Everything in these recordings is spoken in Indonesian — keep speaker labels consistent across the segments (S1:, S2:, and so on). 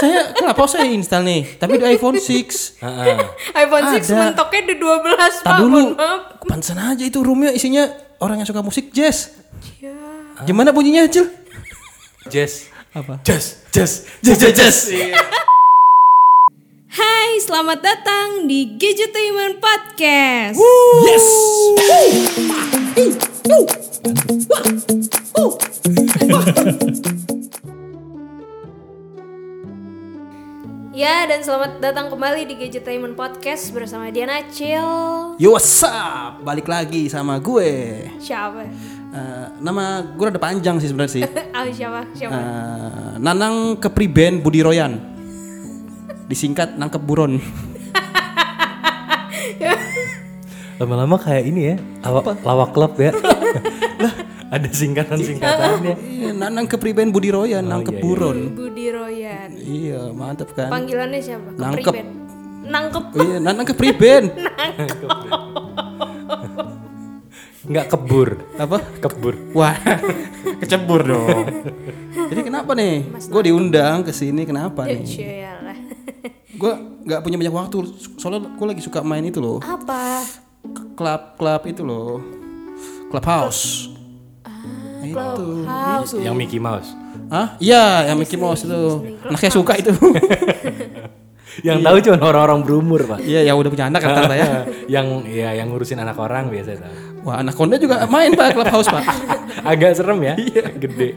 S1: saya kenapa saya install nih? Tapi di iPhone 6. Heeh.
S2: iPhone 6
S1: Ada.
S2: mentoknya di 12
S1: Tar
S2: pak
S1: dulu.
S2: mohon maaf
S1: Pantesan aja itu roomnya isinya orang yang suka musik jazz. Gimana bunyinya, Cil?
S3: Jazz.
S1: Apa?
S3: Jazz. Jazz. Jazz. Jazz. jazz.
S2: Hai selamat datang di Gadgetainment Podcast
S1: Yes.
S2: Ya dan selamat datang kembali di Gadgetainment Podcast bersama Diana Cil
S1: Yo what's up? Balik lagi sama gue.
S2: Siapa?
S1: Eh, nama gue ada panjang sih sebenarnya sih.
S2: Ah siapa? Siapa?
S1: Eh, Nanang Kepriben Budi Royan. Disingkat nangkep buron.
S3: Lama-lama kayak ini ya, awa- lawak klub ya. Lah, ada singkatan-singkatannya.
S1: Iya, Nanang Kepriben Budi Royan, nangkep buron.
S2: Budi Royan
S1: Iya, mantap kan.
S2: Panggilannya siapa?
S1: Nangkep.
S2: Kepriben. Nangkep
S1: Iya, Nanang Kepriben.
S3: Enggak kebur.
S1: Apa?
S3: Kebur.
S1: Wah, kecebur dong. Jadi kenapa nih? Gue diundang ke sini kenapa
S2: Iya.
S1: nih?
S2: Sialah.
S1: Gue nggak punya banyak waktu. Soalnya gue lagi suka main itu loh,
S2: Apa?
S1: klub-klub itu loh, clubhouse. itu.
S2: House
S3: Yang Mickey Mouse.
S1: Hah? Iya, yang Mickey Mouse itu. Anaknya suka itu.
S3: Yang tahu cuma orang-orang berumur, Pak.
S1: Iya, yang udah punya anak kata ya.
S3: yang ya yang ngurusin anak orang biasa tahu.
S1: Wah, anak Honda juga main pak clubhouse pak.
S3: Agak serem ya. Gede.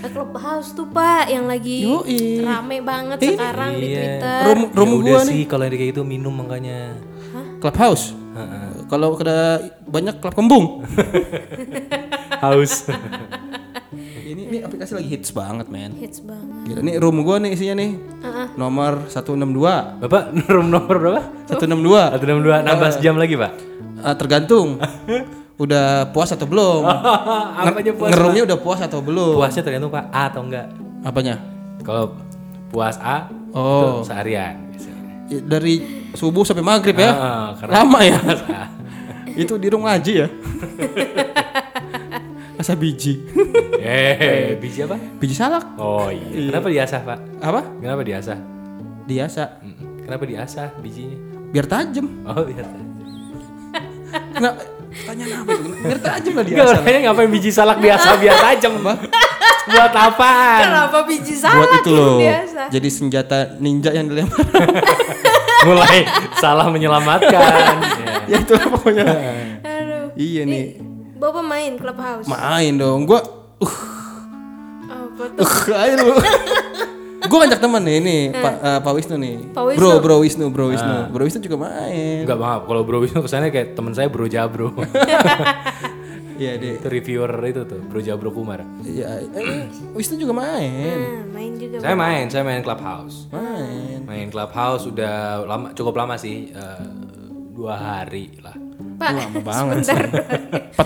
S2: Clubhouse tuh pak yang lagi
S1: Yoi.
S2: rame banget sekarang di
S1: Iya.
S2: Twitter
S1: Room room
S3: ya
S1: gue
S3: udah
S1: nih
S3: sih kalau yang kayak gitu minum makanya.
S1: clubhouse. Kalau ada banyak klub kembung.
S3: Haus.
S1: ini, ini aplikasi lagi hits banget men.
S2: hits banget
S1: Gila nih room gua nih isinya nih. Nomor 162.
S3: Bapak room nomor berapa?
S1: 162.
S3: 162 nambah sejam lagi, Pak.
S1: Ah, tergantung. udah puas atau belum?
S3: Apanya Oh, puas?
S1: Ngerumnya udah puas atau belum?
S3: Puasnya tergantung Pak A atau enggak.
S1: Apanya?
S3: Kalau puas A
S1: Oh.
S3: itu seharian biasanya.
S1: i- Dari subuh sampai maghrib ya?
S3: Ah, karena-
S1: Lama ya?
S3: Eh,
S1: Itu di room ngaji ya? Asa biji.
S3: Eh, biji apa?
S1: Biji salak.
S3: Oh iya. Kenapa diasah, Pak?
S1: Apa?
S3: Kenapa diasah?
S1: Biasa.
S3: Mm-mm. Kenapa diasah bijinya?
S1: Biar tajam.
S3: Oh biasa.
S1: Nah, pertanyaan apa itu? Biar tajam lah
S3: Enggak
S1: dia.
S3: orangnya ngapain biji salak biasa biasa aja, Pak? Buat apaan?
S2: kenapa biji
S1: Buat
S2: salak
S1: itu loh.
S2: biasa
S1: Jadi senjata ninja yang dilempar.
S3: Mulai salah menyelamatkan. Ya.
S1: ya itulah pokoknya.
S2: aduh
S1: iya nih.
S2: bapak main Clubhouse Oh,
S1: Main dong. Gua uh,
S2: apa tuh
S1: uh ayo lu. Gua ngajak teman nih ini Pak eh, Pak Wisnu nih.
S2: Pak Wisnu.
S1: Bro, Bro Wisnu, Bro Wisnu. Bro Wisnu juga main.
S3: Enggak maaf, kalau Bro Wisnu kesannya kayak teman saya Bro Jabro.
S1: Iya, deh.
S3: itu reviewer itu tuh, Bro Jabro Kumar.
S1: Iya, eh, Wisnu juga main.
S2: Nah, main juga
S3: Saya main, saya main Clubhouse.
S1: Main.
S3: Main Clubhouse udah lama, cukup lama sih, eh, dua hari lah.
S2: pak
S1: Lama banget.
S2: sebentar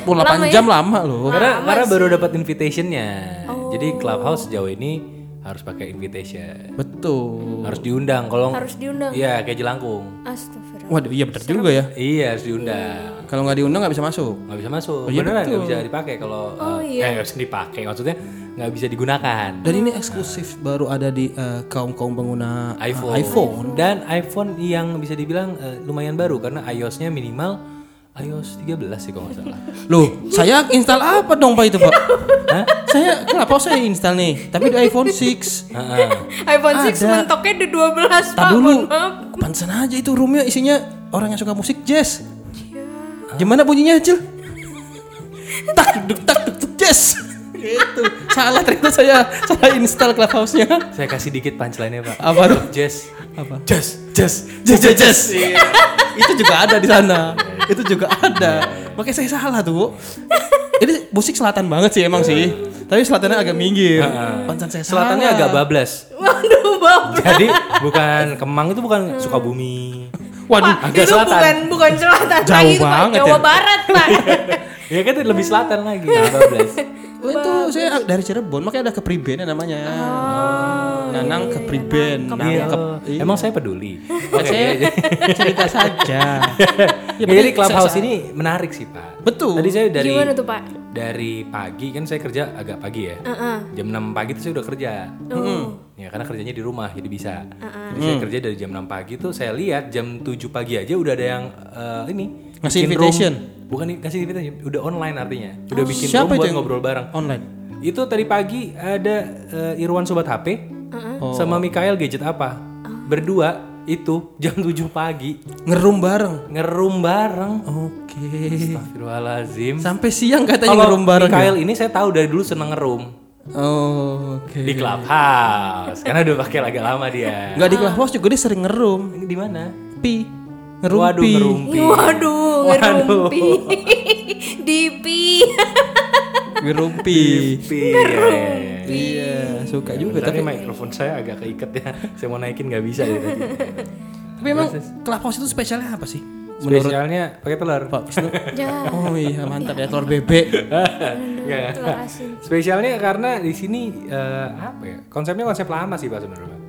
S1: 48 jam lama loh.
S3: Karena, karena baru dapat invitationnya,
S2: Oh.
S3: jadi Clubhouse sejauh ini harus pakai invitation,
S1: Betul.
S3: harus diundang. Kalau
S2: harus diundang
S3: iya kayak jelangkung,
S2: astagfirullah
S1: Waduh, iya benar juga ya.
S3: iya harus diundang.
S1: Kalau nggak diundang nggak bisa masuk.
S3: nggak bisa masuk, beneran nggak bisa dipakai kalau
S2: Oh, iya.
S3: eh, eh, nggak bisa dipakai, maksudnya nggak bisa digunakan.
S1: Dan ini eksklusif baru ada di eh, kaum-kaum pengguna eh,
S3: iPhone. dan iPhone yang bisa dibilang eh, lumayan baru karena iOS-nya minimal iOS 13 sih kalau nggak salah.
S1: Loh, saya install apa dong Pak itu Pak? Hah? Saya kenapa saya install nih? Tapi di iPhone 6.
S2: iPhone 6 mentoknya di 12 pak
S1: Tar
S2: mohon
S1: dulu.
S2: maaf
S1: Pantesan aja itu roomnya isinya orang yang suka musik jazz. Gimana bunyinya Cil? tak duduk tak duduk jazz. Gitu. Salah ternyata saya salah install clubhouse-nya.
S3: Saya kasih dikit punchline-nya, Pak.
S1: Apa tuh?
S3: Jazz.
S1: Apa?
S3: Jazz, jazz.
S1: Jazz jazz jazz. Itu juga ada di sana. Itu juga ada. Makanya saya salah tuh. Ini musik selatan banget sih emang sih. Tapi selatannya agak minggir. Pantesan saya salah.
S3: Selatannya agak bablas.
S2: waduh bapak
S3: Jadi bukan Kemang itu bukan Sukabumi.
S1: Waduh,
S2: Pak,
S3: agak
S2: itu
S3: selatan.
S2: bukan bukan selatan
S1: Jauh
S2: lagi itu, Pak.
S1: banget
S2: Jawa
S1: ya.
S2: Barat pak
S3: Ya kan itu lebih selatan lagi. Nah, bablas.
S1: Oh, itu saya dari Cirebon, makanya ada kepribenan namanya.
S2: Oh,
S1: Nanang kepriben,
S3: Iya.
S1: Nanang ke- iya.
S3: Emang saya peduli.
S1: Ya, saya cerita saja.
S3: Ya,
S1: penting
S3: jadi Clubhouse
S1: saya-
S3: ini menarik sih, Pak.
S1: Betul.
S3: Tadi saya dari
S2: gimana tuh pak
S3: dari pagi kan saya kerja agak pagi ya. Jam 6 pagi itu saya udah kerja.
S1: Hmm.
S2: Uh-uh. Oh. Uh-uh.
S3: Ya Ya karena kerjanya di rumah jadi bisa. Jadi saya kerja dari jam 6 pagi tuh saya lihat jam 7 pagi aja udah ada yang eh, ini
S1: Ngasih
S3: bikin room.
S1: invitation?
S3: Bukan i- ngasih invitation, udah online artinya.
S2: Oh.
S3: Udah bikin
S1: Siapa
S3: room
S1: itu
S3: buat
S1: yang-
S3: ngobrol bareng.
S1: Online.
S3: Itu tadi pagi ada eh, Irwan sobat HP sama Mikael gadget apa? Berdua itu jam 7 pagi
S1: Ngerum bareng.
S3: ngerum bareng.
S1: Oke.
S3: Astagfirullahalazim.
S1: Sampai siang katanya
S3: Kalau
S1: ngerum bareng. ya?
S3: Mikael ini saya tahu dari dulu seneng ngerum
S1: Oh, oke.
S3: di clubhouse karena udah pakai agak lama dia.
S1: Enggak di clubhouse juga dia sering ngerum.
S3: Di mana?
S1: Pi. Ngerumpi.
S3: Waduh ngerumpi.
S2: Waduh, ngerumpi. Dipi.
S1: Ngerumpi.
S3: Ngerumpi.
S1: iya, suka juga
S3: Tapi
S1: tapi
S3: mikrofon saya agak keiket ya. Saya mau naikin nggak bisa ya. tadi.
S1: tapi emang clubhouse itu spesialnya apa sih?
S3: Spesialnya pakai telur.
S1: Pak Wisnu.
S2: Jangan.
S1: Oh iya, mantap ya telur bebek.
S3: Nggak.
S2: Telur asin.
S3: Spesialnya karena di sini eh, apa ya? Konsepnya konsep lama sih pak sebenarnya. Pak.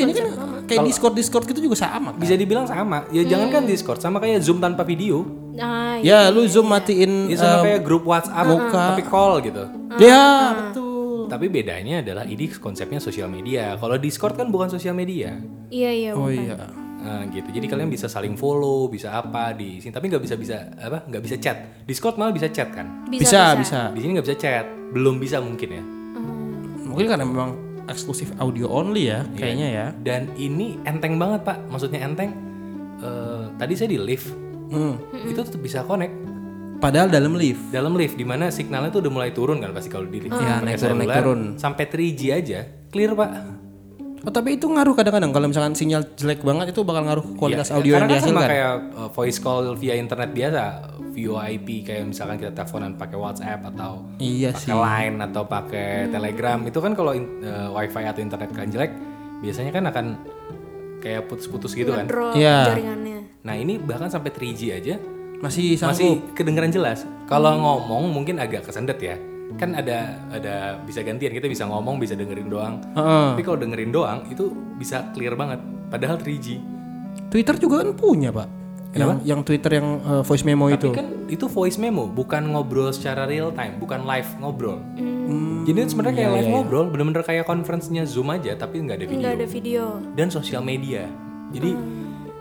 S1: Ya, ini kan kayak Discord Discord gitu juga sama. kan?
S3: Bisa dibilang sama. Ya jangankan Discord sama kayak Zoom tanpa video.
S2: Nah,
S1: Ya, lu Iya, zoom matiin.
S3: Ya sama kayak grup WhatsApp tapi call gitu.
S1: Ya, betul.
S3: Tapi bedanya adalah ini konsepnya sosial media. Kalau Discord kan bukan sosial media.
S2: iya iya.
S1: Oh iya.
S3: Nah, gitu. Jadi kalian bisa saling follow, bisa apa di sini. Tapi nggak bisa bisa apa? Nggak bisa chat. Discord malah bisa chat kan?
S1: Bisa, bisa.
S3: Di sini nggak bisa chat. Belum bisa mungkin ya.
S1: Mungkin karena memang eksklusif audio only ya, kayaknya ya.
S3: Dan ini enteng banget pak. Maksudnya enteng. eh, tadi saya di lift.
S1: Hmm.
S3: Itu tetap bisa connect
S1: Padahal dalam lift.
S3: dalam lift di mana signalnya tuh udah mulai turun kan pasti kalau di lift
S1: Iya,
S3: Pakai
S1: naik turun, naik
S3: seluler,
S1: turun.
S3: sampai 3G aja clear pak
S1: Oh, tapi itu ngaruh kadang-kadang kalau misalkan sinyal jelek banget itu bakal ngaruh ke kualitas
S3: Iya,
S1: audio yang
S3: karena kan sama
S1: dihasilkan.
S3: kayak uh, voice call via internet biasa VoIP kayak misalkan kita teleponan pakai WhatsApp atau
S1: Iya
S3: pakai
S1: sih.
S3: Line atau pakai Telegram itu kan kalau in- uh, WiFi atau internet kan jelek biasanya kan akan kayak putus-putus gitu kan
S2: Drop
S1: Iya.
S2: jaringannya.
S3: nah ini bahkan sampai 3G aja
S1: Masih sama.
S3: masih kedengeran jelas kalau ngomong mungkin agak kesendet ya kan ada ada bisa gantian kita bisa ngomong bisa dengerin doang
S1: Heeh.
S3: tapi kalau dengerin doang itu bisa clear banget padahal 3G
S1: Twitter juga kan punya, Pak. Yang, yang Twitter yang eh, voice memo itu.
S3: Tapi kan itu voice memo, bukan ngobrol secara real time, bukan live ngobrol. Jadi itu sebenarnya kayak live ngobrol, bener-bener kayak conference-nya Zoom aja tapi nggak ada video
S2: Enggak ada video.
S3: dan sosial media. Jadi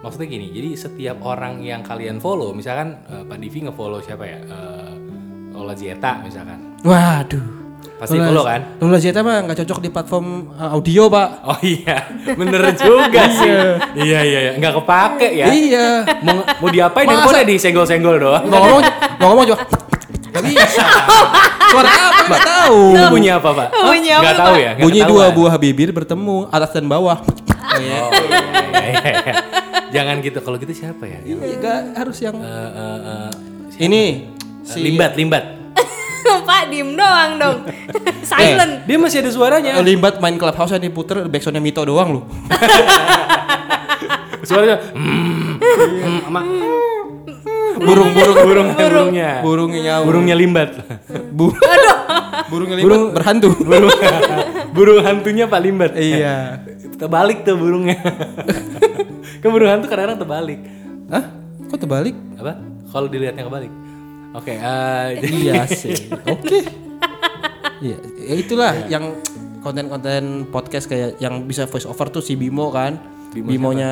S3: maksudnya gini, jadi setiap orang yang kalian follow, misalkan eh, Pak Divi nge-follow siapa ya? Eh, Ola Zieta misalkan.
S1: Waduh.
S3: Pasti follow kan?
S1: Lula Zeta mah nggak cocok di platform eh, audio, Pak.
S3: Oh iya, bener juga sih. iya iya iya, nggak kepake ya.
S1: Iya.
S3: Mau, mau diapain
S1: Masa-
S3: handphonenya disenggol-senggol doang.
S1: mau ngomong mau ngomong coba. Gak bisa. Suara apa nggak tahu.
S3: Itu bunyi apa, Pak?
S2: Bunyi apa,
S3: Nggak tahu ya? Nggak
S1: Bunyi
S3: ketahuan.
S1: dua buah bibir bertemu atas dan bawah.
S3: Oh, iya, iya, iya, iya. Jangan gitu. Kalau gitu siapa ya? Yang,
S1: Iya, nggak harus yang
S3: eh, eh, eh, si-
S1: ini
S3: eh, Limbat, Limbat.
S2: Pak diem doang dong. Silent.
S3: Dia masih ada suaranya.
S1: Eh, Limbat main clubhouse yang diputer backsoundnya Mito doang lu.
S3: Suaranya. hmm, hmm, sama
S1: Burung burung burung
S3: eh, burungnya.
S1: burungnya nyawa.
S3: Burungnya Limbat.
S1: Bu- burungnya Limbat
S3: Burung-
S1: berhantu.
S3: Burung, burung hantunya Pak Limbat.
S1: iya.
S3: Terbalik tuh burungnya. kan burung hantu kadang-kadang terbalik.
S1: Eh, Hah? Kok terbalik?
S3: Apa? Kalau dilihatnya kebalik. Oke, eh, jadi
S1: Iya sih. Oke. Iya, ya itulah yang konten-konten podcast kayak yang bisa voice over tuh si Bimo kan. Bimonya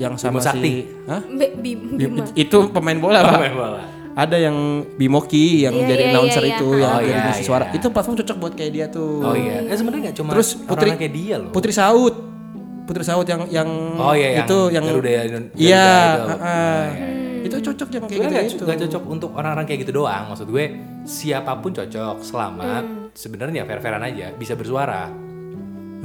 S1: yang sama
S3: Bimo Sakti.
S1: si Hah?
S2: Be- bim-
S1: Bi-
S2: Bima.
S1: Itu pemain bola, Pak.
S3: main bola.
S1: Ada yang Bimoki yang
S2: Iya,
S1: jadi
S2: iya,
S1: announcer
S2: iya,
S1: itu
S2: iya.
S1: yang
S3: Oh,
S1: jadi
S3: iya,
S1: ngisi
S3: iya.
S1: suara. Itu platform cocok buat kayak dia tuh.
S3: Oh iya, eh, sebenarnya nggak cuma
S1: Terus Putri-
S3: orang kayak dia loh.
S1: Putri Saud. Putri Saud yang yang
S3: Oh iya, yang
S1: itu yang
S3: Garuda- Garuda
S1: Iya,
S3: itu. Oh, iya.
S1: heeh. Itu cocok jam kayak
S3: Sebenarnya
S1: gitu.
S3: nggak nggak cocok untuk orang-orang kayak gitu doang. Maksud gue siapapun cocok selama sebenarnya fair-fairan aja bisa bersuara.
S2: Iya.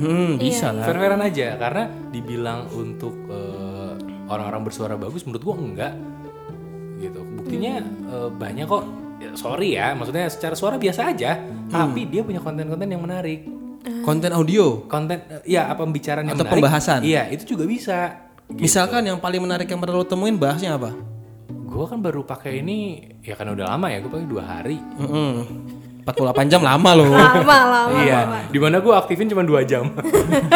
S1: Hmm, bisa lah.
S3: Fair-fairan aja karena dibilang untuk eh, orang-orang bersuara bagus menurut gue enggak gitu. Buktinya
S1: Hmm.
S3: eh, banyak kok. Ya, Sorry ya, maksudnya secara suara biasa aja,
S1: Hmm.
S3: tapi dia punya konten-konten yang menarik.
S2: Eh.
S1: Konten audio.
S3: Konten eh, ya apa pembicaraan yang
S1: Atau
S3: menarik?
S1: pembahasan.
S3: Iya, itu juga bisa. Gitu.
S1: Misalkan yang paling menarik yang pernah lo temuin bahasnya apa?
S3: Gue kan baru pakai ini ya kan udah lama ya, gue pakai dua hari.
S1: Mm-mm. 48 jam lama lo,
S2: Lama lama. lama.
S3: Iya, di mana gue aktifin cuma dua jam.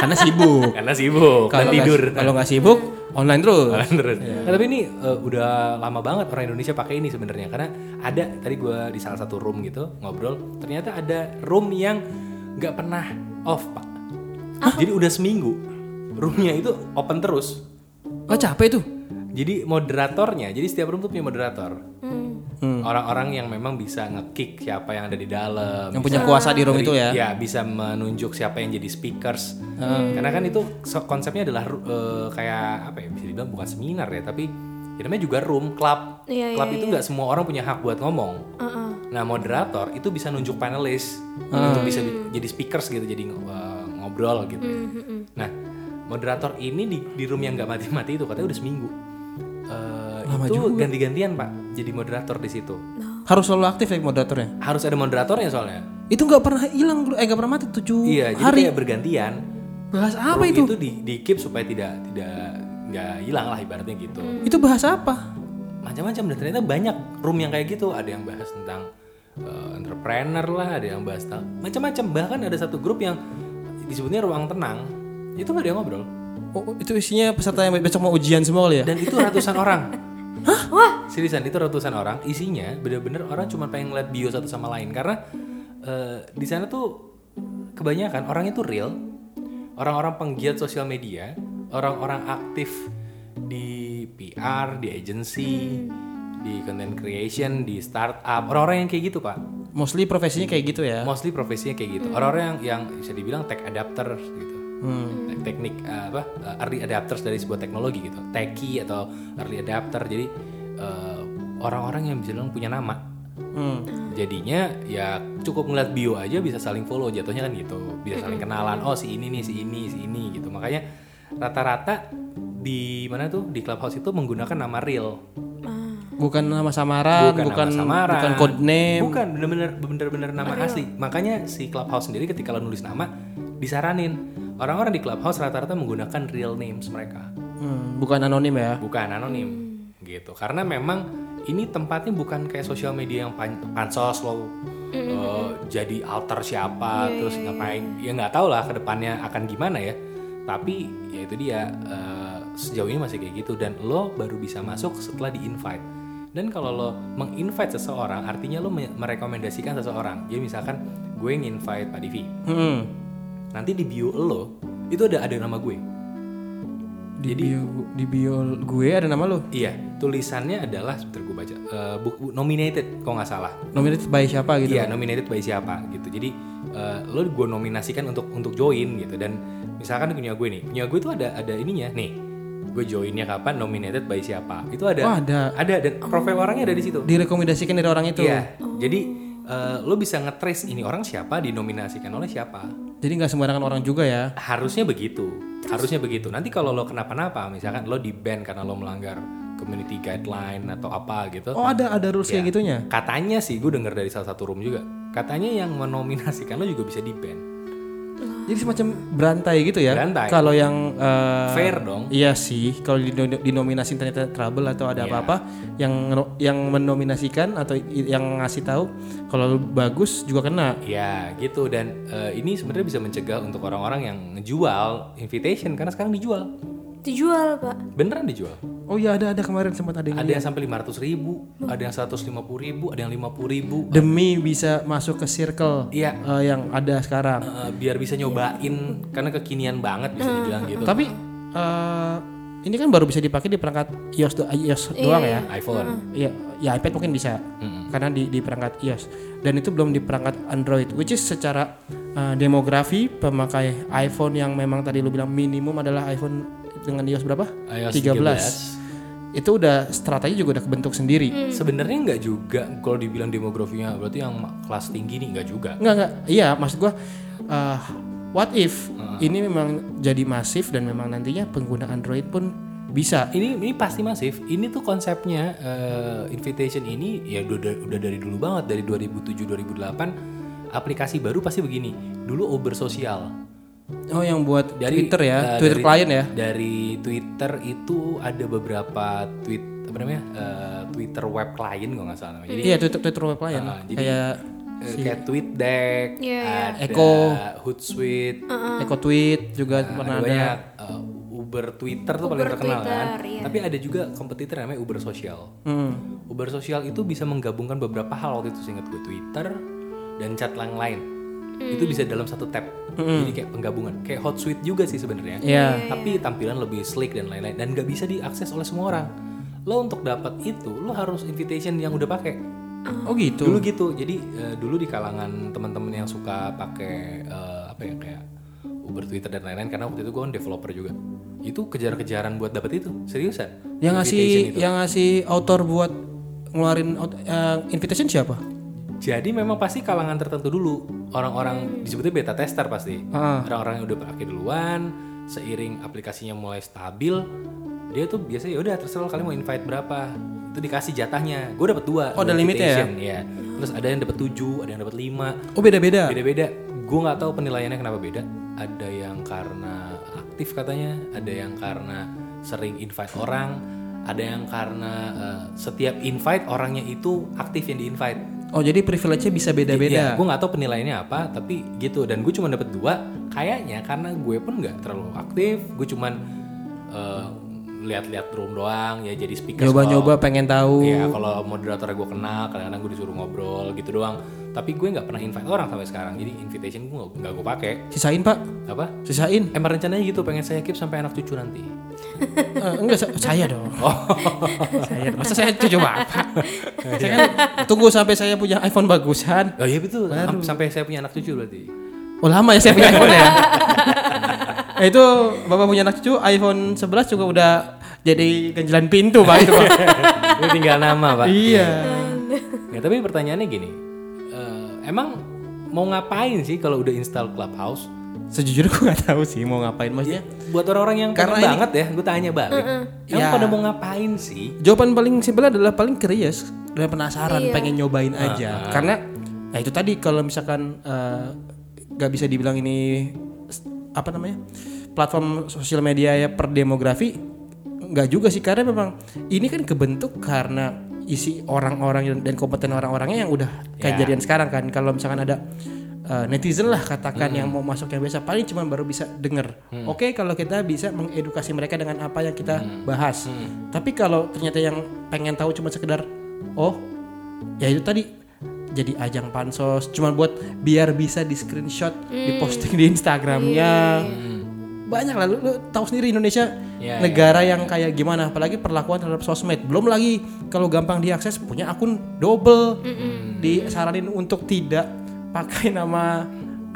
S1: karena sibuk.
S3: karena sibuk dan
S1: Kalau nggak-
S3: tidur
S1: Kalau nggak sibuk, online terus.
S3: Jalan terus. Nah, tapi ini eh, udah lama banget orang Indonesia pakai ini sebenarnya karena ada tadi gua di salah satu room gitu ngobrol ternyata ada room yang nggak pernah off pak Jadi udah seminggu roomnya itu open terus.
S1: Oh capek tuh.
S3: Jadi moderatornya, jadi setiap room tuh punya moderator.
S2: Hmm,
S1: Hmm.
S3: Orang-orang yang memang bisa ngekick siapa yang ada di dalam.
S1: Yang punya kuasa di room
S3: Jadi,
S1: itu ya.
S3: Ya bisa menunjuk siapa yang jadi speakers.
S1: Hmm.
S3: Karena kan itu so- konsepnya adalah ru- eh, kayak apa ya bisa dibilang bukan seminar ya tapi ya namanya juga room club.
S2: Iya,
S3: club
S2: iya, Hmm.
S3: itu nggak semua orang punya hak buat ngomong.
S2: Heeh.
S3: Nah moderator itu bisa nunjuk panelis
S1: Hmm.
S3: untuk bisa bi- jadi speakers gitu jadi ng- eh, ngobrol gitu.
S2: Hmm,
S3: ya. Nah moderator ini di, di room yang nggak mati-mati itu katanya udah seminggu. Eh, itu ganti-gantian pak jadi moderator di situ
S1: Harus selalu aktif ya moderatornya.
S3: harus ada moderatornya soalnya.
S1: Itu nggak pernah hilang, eh nggak pernah mati tujuh
S3: Iya jadi
S1: hari.
S3: kayak gitu. bergantian.
S1: Bahas apa
S3: Room
S1: itu?
S3: itu di, di keep supaya tidak tidak nggak hilang lah ibaratnya gitu
S1: Itu bahas apa?
S3: macam-macam dan ternyata banyak room yang kayak gitu ada yang bahas tentang eh, entrepreneur lah ada yang bahas tentang macam-macam bahkan ada satu grup yang disebutnya ruang tenang itu nggak ada yang ngobrol
S1: Oh, itu isinya peserta yang besok mau ujian semua kali ya?
S3: dan itu ratusan orang seriusan itu ratusan orang isinya bener-bener orang cuma pengen ngeliat bio satu sama lain karena eh, di sana tuh kebanyakan orang itu real orang-orang penggiat sosial media orang-orang aktif di PR di agency di content creation di startup orang-orang yang kayak gitu pak
S1: Mostly profesinya kayak gitu ya.
S3: mostly profesinya kayak gitu orang-orang yang, yang bisa dibilang tech adapter gitu Tek- teknik eh, apa eh, early adapters dari sebuah teknologi gitu techie atau early adapter jadi eh, orang-orang yang bisa dibilang punya nama
S1: Hmm.
S3: jadinya ya cukup ngeliat bio aja bisa saling follow jatuhnya kan gitu bisa saling kenalan oh si ini nih si ini si ini gitu makanya rata-rata di mana tuh di clubhouse itu menggunakan nama real
S1: Bukan nama samaran, bukan bukan,
S3: nama samaran.
S1: code name.
S3: bukan bener-bener bener-bener nama asli makanya si clubhouse sendiri ketika lo nulis nama disaranin orang-orang di clubhouse rata-rata menggunakan real names mereka
S1: Hmm, bukan anonim ya.
S3: bukan anonim gitu karena memang ini tempatnya bukan kayak sosial media yang pan- pansos lo eh, jadi alter siapa terus ngapain ya nggak tahu lah kedepannya akan gimana ya tapi ya itu dia eh, sejauh ini masih kayak gitu dan lo baru bisa masuk setelah di invite dan kalau lo menginvite seseorang artinya lo me- merekomendasikan seseorang ya misalkan gue nginvite Pak Divi
S1: Hmm.
S3: nanti di bio lo itu ada ada nama gue
S1: Di bio, di bio gue ada nama lu.
S3: Iya, tulisannya adalah sebentar gue baca. eh, bu- bu- nominated kalau nggak salah.
S1: Nominated by siapa gitu.
S3: Iya, nominated by siapa gitu. Jadi eh, lo gue nominasikan untuk untuk join gitu dan misalkan punya gue nih, punya gue itu ada ada ininya nih. Gue joinnya kapan? Nominated by siapa? Itu ada.
S1: Wah, Oh, ada.
S3: Ada dan profil orangnya ada di situ.
S1: Direkomendasikan dari orang itu.
S3: Iya. Jadi eh, lo bisa nge-trace ini orang siapa dinominasikan oleh siapa.
S1: Jadi nggak sembarangan orang juga ya.
S3: Harusnya begitu. Harusnya begitu. Nanti kalau lo kenapa-napa, misalkan lo di ban karena lo melanggar community guideline atau apa gitu.
S1: Oh ada ada rules kayak gitunya.
S3: Katanya sih, gue denger dari salah satu room juga. Katanya yang menominasikan lo juga bisa di ban.
S1: Jadi semacam berantai gitu ya.
S3: Berantai.
S1: Kalau yang eh,
S3: Fair dong.
S1: Iya sih, kalau dino- dinominasikan ternyata trouble atau ada apa-apa yang ngero- yang menominasikan atau i- yang ngasih tahu kalau lu bagus juga kena.
S3: Ya gitu dan eh, ini sebenarnya bisa mencegah untuk orang-orang yang ngejual invitation karena sekarang dijual.
S2: Dijual, Pak.
S3: Beneran dijual.
S1: Oh iya ada ada kemarin sempat ada yang
S3: Ada yang sampai 500 ribu, ada yang 150 ribu, ada yang 50 ribu.
S1: demi bisa masuk ke circle
S3: Iya.
S1: eh, yang ada sekarang.
S3: Eh, biar bisa nyobain karena kekinian banget bisa dibilang gitu.
S1: Hmm. Tapi eh, ini kan baru bisa dipakai di perangkat iOS, do- iOS doang ya.
S3: iPhone.
S1: Ya, ya iPad mungkin bisa karena di, di perangkat iOS dan itu belum di perangkat Android which is secara uh, demografi pemakai iPhone yang memang tadi lu bilang minimum adalah iPhone dengan iOS berapa?
S3: iOS
S1: 13. Itu udah strategi juga udah kebentuk sendiri.
S3: Sebenarnya nggak juga kalau dibilang demografinya berarti yang kelas tinggi nih nggak juga.
S1: Enggak enggak, iya maksud gua uh, what if ini memang jadi masif dan memang nantinya pengguna Android pun bisa
S3: ini ini pasti masif. Ini tuh konsepnya eh, invitation ini ya udah, udah udah dari dulu banget dari 2007 2008 aplikasi baru pasti begini. Dulu Uber sosial.
S1: Oh yang buat
S3: Dari
S1: Twitter ya,
S3: eh,
S1: Twitter
S3: dari-
S1: klien ya.
S3: Dari Twitter itu ada beberapa tweet apa namanya? eh, Twitter web klien kalau nggak salah. namanya. Jadi
S1: Iya Twitter Twitter web klien.
S3: Ah, jadi-
S1: kayak
S3: eh, kayak TweetDeck,
S2: Iya, Ah,
S3: ada
S1: Iya. Echo.
S3: Hootsuite,
S1: Eco Tweet juga pernah ada.
S3: Ah, banyak eh, Uber Twitter tuh paling
S2: Uber
S3: terkenal kan.
S2: Twitter, iya.
S3: Tapi ada juga kompetitor namanya Uber Social.
S1: Hmm.
S3: Uber sosial itu bisa menggabungkan beberapa hal waktu itu seingat gue Twitter dan chat lain lain.
S2: Hmm.
S3: itu bisa dalam satu tab jadi kayak penggabungan kayak hot suite juga sih sebenarnya
S1: Hmm. Iya.
S3: tapi tampilan lebih sleek dan lain-lain dan nggak bisa diakses oleh semua orang lo untuk dapat itu lo harus invitation yang udah pakai
S1: Oh gitu.
S3: dulu gitu jadi eh, dulu di kalangan teman-teman yang suka pakai eh, apa ya kayak Uber Twitter dan lain-lain karena waktu itu gue kan developer juga itu kejar-kejaran buat dapat itu seriusan
S1: Yang ngasih
S3: Invitation itu.
S1: yang ngasih author buat ngeluarin out- eh, invitation siapa?
S3: Jadi memang pasti kalangan tertentu dulu orang-orang disebutnya beta tester pasti orang-orang yang udah pakai duluan seiring aplikasinya mulai stabil dia tuh biasanya ya udah terserah kalian mau invite berapa itu dikasih jatahnya gue dapat dua
S1: Oh, ada limitnya ya?
S3: invitation, ya terus ada yang dapat tujuh ada yang dapat lima
S1: Oh beda-beda.
S3: beda-beda gue nggak tahu penilaiannya kenapa beda ada yang karena aktif katanya ada yang karena sering invite orang ada yang karena eh, setiap invite orangnya itu aktif yang di invite
S1: Oh jadi privilege-nya bisa beda-beda.
S3: gue nggak tahu penilaiannya apa, tapi gitu. Dan gue cuma dapet dua. Kayaknya karena gue pun nggak terlalu aktif. Gue cuman eh, lihat-lihat room doang ya jadi speaker.
S1: Nyoba-nyoba pengen tahu.
S3: Iya, kalau moderator gue kenal, kadang-kadang gue disuruh ngobrol gitu doang. Tapi gue nggak pernah invite orang sampai sekarang. Jadi invitation gue nggak gue pakai.
S1: Sisain pak,
S3: Apa?
S1: sisain.
S3: Emang rencananya gitu, pengen saya keep sampai anak cucu nanti.
S1: Eh, enggak sa- saya dong. Oh. saya dong. Masa saya cucu bapak. saya kan tunggu sampai saya punya iPhone bagusan.
S3: Oh iya betul. Sam- Sampai saya punya anak cucu berarti.
S1: Oh lama ya saya punya iPhone ya. Eh, itu bapak punya anak cucu iPhone 11 juga udah jadi ganjalan pintu pak itu pak.
S3: Ini tinggal nama pak.
S1: iya.
S3: Ya tapi pertanyaannya gini, eh, emang mau ngapain sih kalau udah install Clubhouse?
S1: Sejujurnya gue nggak tahu sih mau ngapain maksudnya.
S3: Buat orang-orang yang
S1: Karena
S3: Karena
S1: ini-
S3: banget ya, gue tanya balik. Emang
S1: Ya.
S3: pada mau ngapain sih?
S1: Jawaban paling simpel adalah paling curious Ah, dan penasaran, pengen nyobain aja. Karena ya itu tadi kalau misalkan eh, nggak bisa dibilang ini s- apa namanya platform sosial media ya per demografi nggak juga sih karena memang ini kan kebentuk karena isi orang-orang dan kompeten orang-orangnya yang udah kejadian sekarang kan kalau misalkan ada eh, netizen lah katakan yang mau masuk yang biasa paling cuma baru bisa denger oke kalau kita bisa mengedukasi mereka dengan apa yang kita bahas tapi kalau ternyata yang pengen tahu cuma sekedar oh ya itu tadi jadi ajang pansos cuma buat biar bisa di screenshot diposting di Instagramnya banyak lah lu, lu tahu sendiri Indonesia
S3: Iya,
S1: negara yang kayak gimana apalagi perlakuan terhadap sosmed belum lagi kalau gampang diakses punya akun double disaranin untuk tidak pakai nama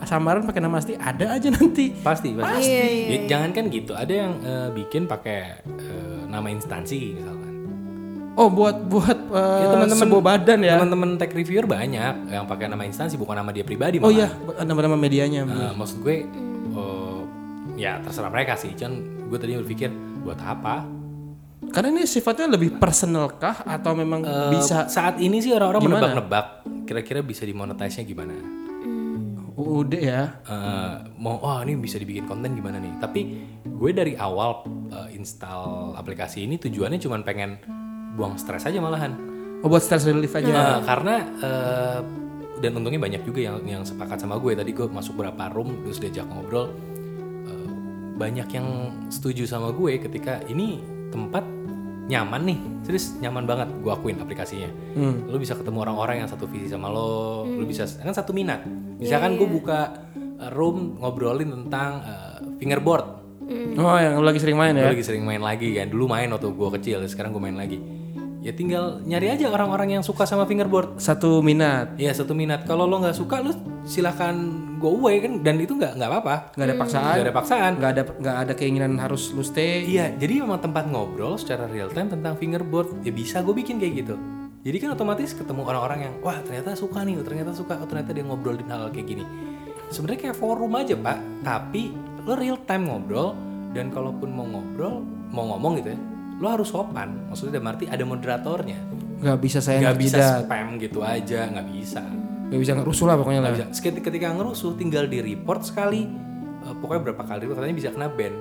S1: samaran pakai nama asli ada aja nanti
S3: Pasti, pasti.
S2: Iya,
S1: Iya,
S3: Ya, jangan kan gitu. Ada yang eh, bikin pakai eh, nama instansi misalkan.
S1: oh buat buat eh,
S3: Ya, teman-teman-
S1: sebuah badan ya
S3: Teman-teman tech reviewer banyak yang pakai nama instansi bukan nama dia pribadi.
S1: oh
S3: malah.
S1: iya nama-nama medianya
S3: Eh, maksud gue, eh, ya terserah mereka sih. Cuman gue tadi berpikir buat apa?
S1: karena ini sifatnya lebih personal kah atau memang
S3: Eh,
S1: bisa
S3: saat ini sih orang-orang
S1: Gimana?
S3: menebak-nebak kira-kira bisa dimonetize-nya gimana.
S1: UUD ya
S3: Eh, mau oh ini bisa dibikin konten gimana nih. Tapi gue dari awal eh, install aplikasi ini tujuannya cuma pengen buang stres aja malahan.
S1: Oh buat stress relief aja.
S3: Eh, karena eh, dan untungnya banyak juga yang yang sepakat sama gue tadi gue masuk berapa room terus diajak ngobrol Eh, banyak yang setuju sama gue ketika ini tempat nyaman nih serius nyaman banget gue akuin aplikasinya lo bisa ketemu orang-orang yang satu visi sama lo lo bisa kan satu minat misalkan gue buka eh, room ngobrolin tentang eh, fingerboard
S1: Oh yang lu lagi sering main ya.
S3: Gue lagi sering main lagi kan. Dulu main waktu gue kecil, sekarang gue main lagi. Ya tinggal nyari aja orang-orang yang suka sama fingerboard.
S1: Satu minat,
S3: Ya satu minat. Kalau lo nggak suka, lo silakan go away kan. Dan itu nggak nggak apa-apa.
S1: nggak ada paksaan,
S3: Hmm. Nggak ada paksaan.
S1: nggak ada nggak ada keinginan harus lu stay.
S3: Iya, jadi memang tempat ngobrol secara real time tentang fingerboard. Ya bisa gue bikin kayak gitu. Jadi kan otomatis ketemu orang-orang yang wah ternyata suka nih, ternyata suka, oh, ternyata dia ngobrolin hal kayak gini. Sebenarnya kayak forum aja pak, tapi lo real time ngobrol dan kalaupun mau ngobrol, mau ngomong gitu ya, lo harus sopan. Maksudnya dalam arti ada moderatornya,
S1: Nggak bisa saya
S3: nggak
S1: nggak
S3: bisa
S1: bisa
S3: spam gitu aja, nggak bisa.
S1: nggak bisa ngerusuh lah pokoknya lah.
S3: Nggak bisa. Seketi- Ketika ngerusuh tinggal di report sekali, Eh, pokoknya berapa kali katanya bisa kena ban.